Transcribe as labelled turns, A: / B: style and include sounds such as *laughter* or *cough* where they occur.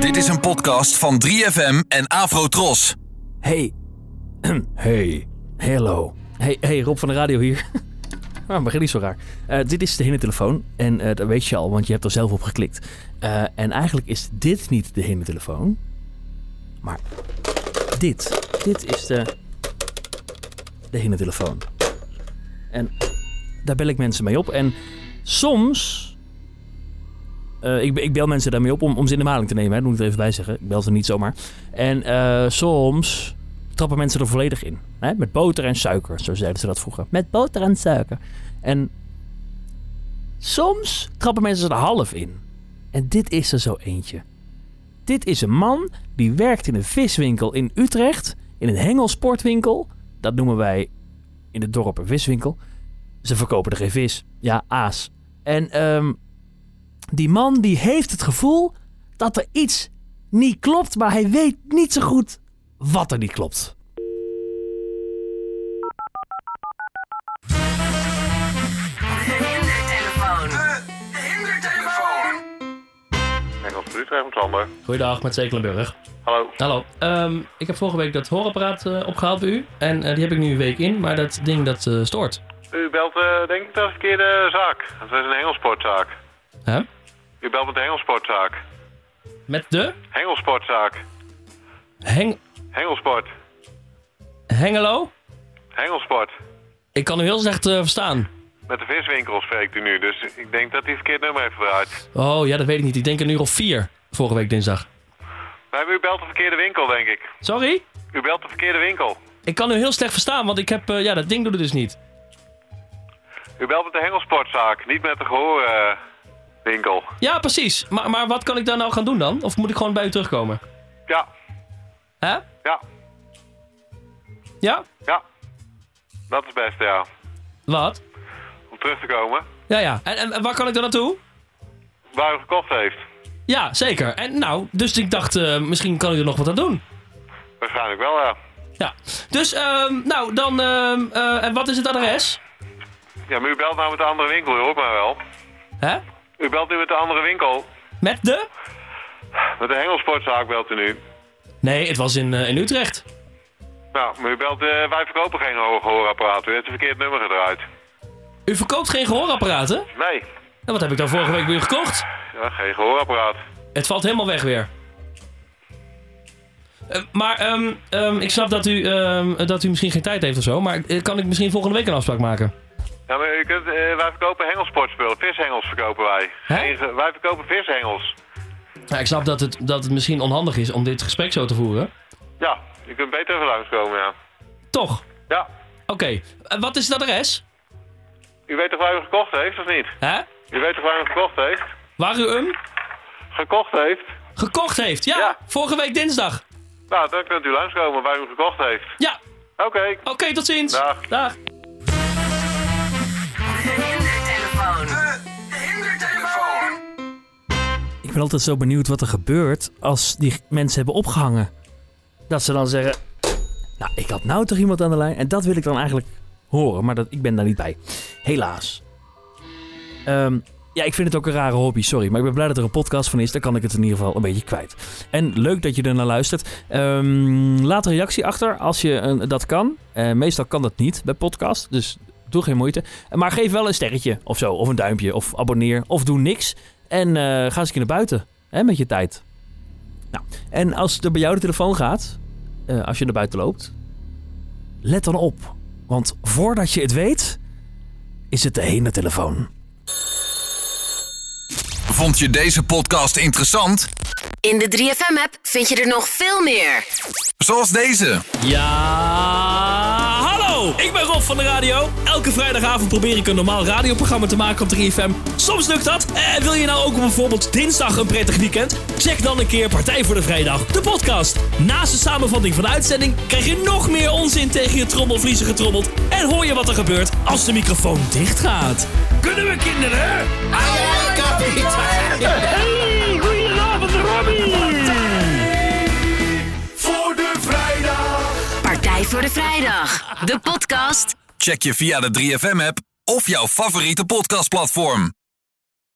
A: Dit is een podcast van 3FM en Afrotros.
B: Hey. *clears throat* hey. Hello. Hey, hey, Rob van de Radio hier. *laughs* Ah, Maar begin niet zo raar. Eh, dit is de hinnentelefoon. En eh, dat weet je al, want je hebt er zelf op geklikt. Eh, en eigenlijk is dit niet de hinnentelefoon. Maar dit. Dit is de... De hinnentelefoon. En daar bel ik mensen mee op. En soms... eh, ik, ik bel mensen daarmee op om, om ze in de maling te nemen. Hè. Dat moet ik er even bij zeggen. Ik bel ze niet zomaar. En eh, soms trappen mensen er volledig in. Hè? Met boter en suiker, zo zeiden ze dat vroeger. Met boter en suiker. En soms trappen mensen er half in. En dit is er zo eentje. Dit is een man die werkt in een viswinkel in Utrecht. In een hengelsportwinkel. Dat noemen wij in het dorp een viswinkel. Ze verkopen er geen vis. Ja, aas. En ehm, die man die heeft het gevoel dat er iets niet klopt. Maar hij weet niet zo goed wat er niet klopt.
C: Engels Utrecht, Sander.
D: Goeiedag, met Zekelenburg.
C: Hallo.
D: Hallo. Ehm, ik heb vorige week dat hoorapparaat eh, opgehaald bij u. En eh, die heb ik nu een week in, maar dat ding dat eh, stoort.
C: U belt eh, denk ik de verkeerde zaak. Het is een hengelsportzaak.
D: Hè?
C: U belt met de hengelsportzaak.
D: Met de
C: Hengelsportzaak.
D: heng
C: Hengelsport.
D: Hengelo?
C: Hengelsport.
D: Ik kan u heel slecht eh, verstaan.
C: Met de viswinkel spreekt u nu, dus ik denk dat hij verkeerd nummer heeft gebruikt.
D: Oh ja, dat weet ik niet. Ik denk een uur of vier vorige week dinsdag.
C: Maar u belt de verkeerde winkel, denk ik.
D: Sorry?
C: U belt de verkeerde winkel.
D: Ik kan u heel slecht verstaan, want ik heb... eh, ja, dat ding doet het dus niet.
C: U belt met de hengelsportzaak, niet met de gehoorwinkel. winkel.
D: Ja, precies. Maar, maar wat kan ik daar nou gaan doen dan? Of moet ik gewoon bij u terugkomen?
C: ja,
D: Hè?
C: ja,
D: Ja?
C: ja. Dat is best, ja.
D: Wat?
C: Om terug te komen.
D: Ja, ja. En, en, en waar kan ik dan naartoe?
C: Waar u gekocht heeft.
D: Ja, zeker. En nou, dus ik dacht, eh, misschien kan u er nog wat aan doen.
C: Waarschijnlijk wel, ja.
D: Ja, dus ehm, nou dan, ehm, eh, en wat is het adres?
C: Ja, maar u belt nou met de andere winkel, u hoort mij wel.
D: Hè?
C: U belt nu met de andere winkel.
D: Met de?
C: Met de hengelsportzaak belt u nu.
D: Nee, het was in, eh, in Utrecht.
C: Nou, maar u belt, eh, wij verkopen geen hoge hoorapparaten. U heeft een verkeerd nummer gedraaid.
D: U verkoopt geen gehoorapparaten?
C: Nee,
D: En wat heb ik dan vorige week weer gekocht?
C: ja, geen gehoorapparaat.
D: Het valt helemaal weg weer. Eh, maar ehm, ehm, ik snap dat u, ehm, dat u misschien geen tijd heeft of zo, maar eh, kan ik misschien volgende week een afspraak maken?
C: Ja, maar u kunt, eh, wij verkopen hengelsportspullen. Vishengels verkopen wij.
D: Hè?
C: Geen ge- wij verkopen vishengels.
D: Ja, Nou, ik snap dat het, dat het misschien onhandig is om dit gesprek zo te voeren.
C: Ja, u kunt beter even langskomen, ja.
D: Toch? Oké,
C: Ja,
D: Eh, wat is het adres?
C: u weet toch waar u gekocht heeft, of niet?
D: Hè?
C: U weet toch waar u gekocht heeft?
D: Waar u hem
C: Gekocht heeft?
D: gekocht heeft? ja.
C: Ja.
D: vorige week dinsdag.
C: Nou, dan kunt u langskomen waar u hem gekocht heeft.
D: Ja,
C: Oké.
D: Oké, tot ziens.
C: Dag.
D: Dag.
B: Ik ben altijd zo benieuwd wat er gebeurt als die mensen hebben opgehangen. Dat ze dan zeggen, nou, ik had nou toch iemand aan de lijn? En dat wil ik dan eigenlijk horen, maar dat, ik ben daar niet bij. Helaas. Ehm, ja, ik vind het ook een rare hobby, sorry. Maar ik ben blij dat er een podcast van is. Dan kan ik het in ieder geval een beetje kwijt. En leuk dat je er naar luistert. Ehm, laat een reactie achter als je een- dat kan. Eh, meestal kan dat niet bij podcast, dus doe geen moeite. Maar geef wel een sterretje of zo, of een duimpje, of abonneer, of doe niks. En eh, ga eens een keer naar buiten. Hè, met je tijd. Nou, en als er bij jou de telefoon gaat, eh, als je naar buiten loopt, let dan op. Want voordat je het weet, is het de hene telefoon.
A: Vond je deze podcast interessant?
E: In de 3FM-app vind je er nog veel meer.
A: Zoals deze.
D: Ja, hallo! Ik ben Rob van de radio. Elke vrijdagavond probeer ik een normaal radioprogramma te maken op 3FM. Soms lukt dat. En wil je nou ook bijvoorbeeld dinsdag een prettig weekend? Check dan een keer Partij voor de Vrijdag, de podcast. Naast de samenvatting van de uitzending krijg je nog meer onzin tegen je trommelvliezen getrommeld. En hoor je wat er gebeurt als de microfoon dicht gaat. Kunnen we kinderen? Hey, goedenavond Robbie!
E: Partij voor de Vrijdag. De podcast
A: Check je via de 3FM-app of jouw favoriete podcastplatform.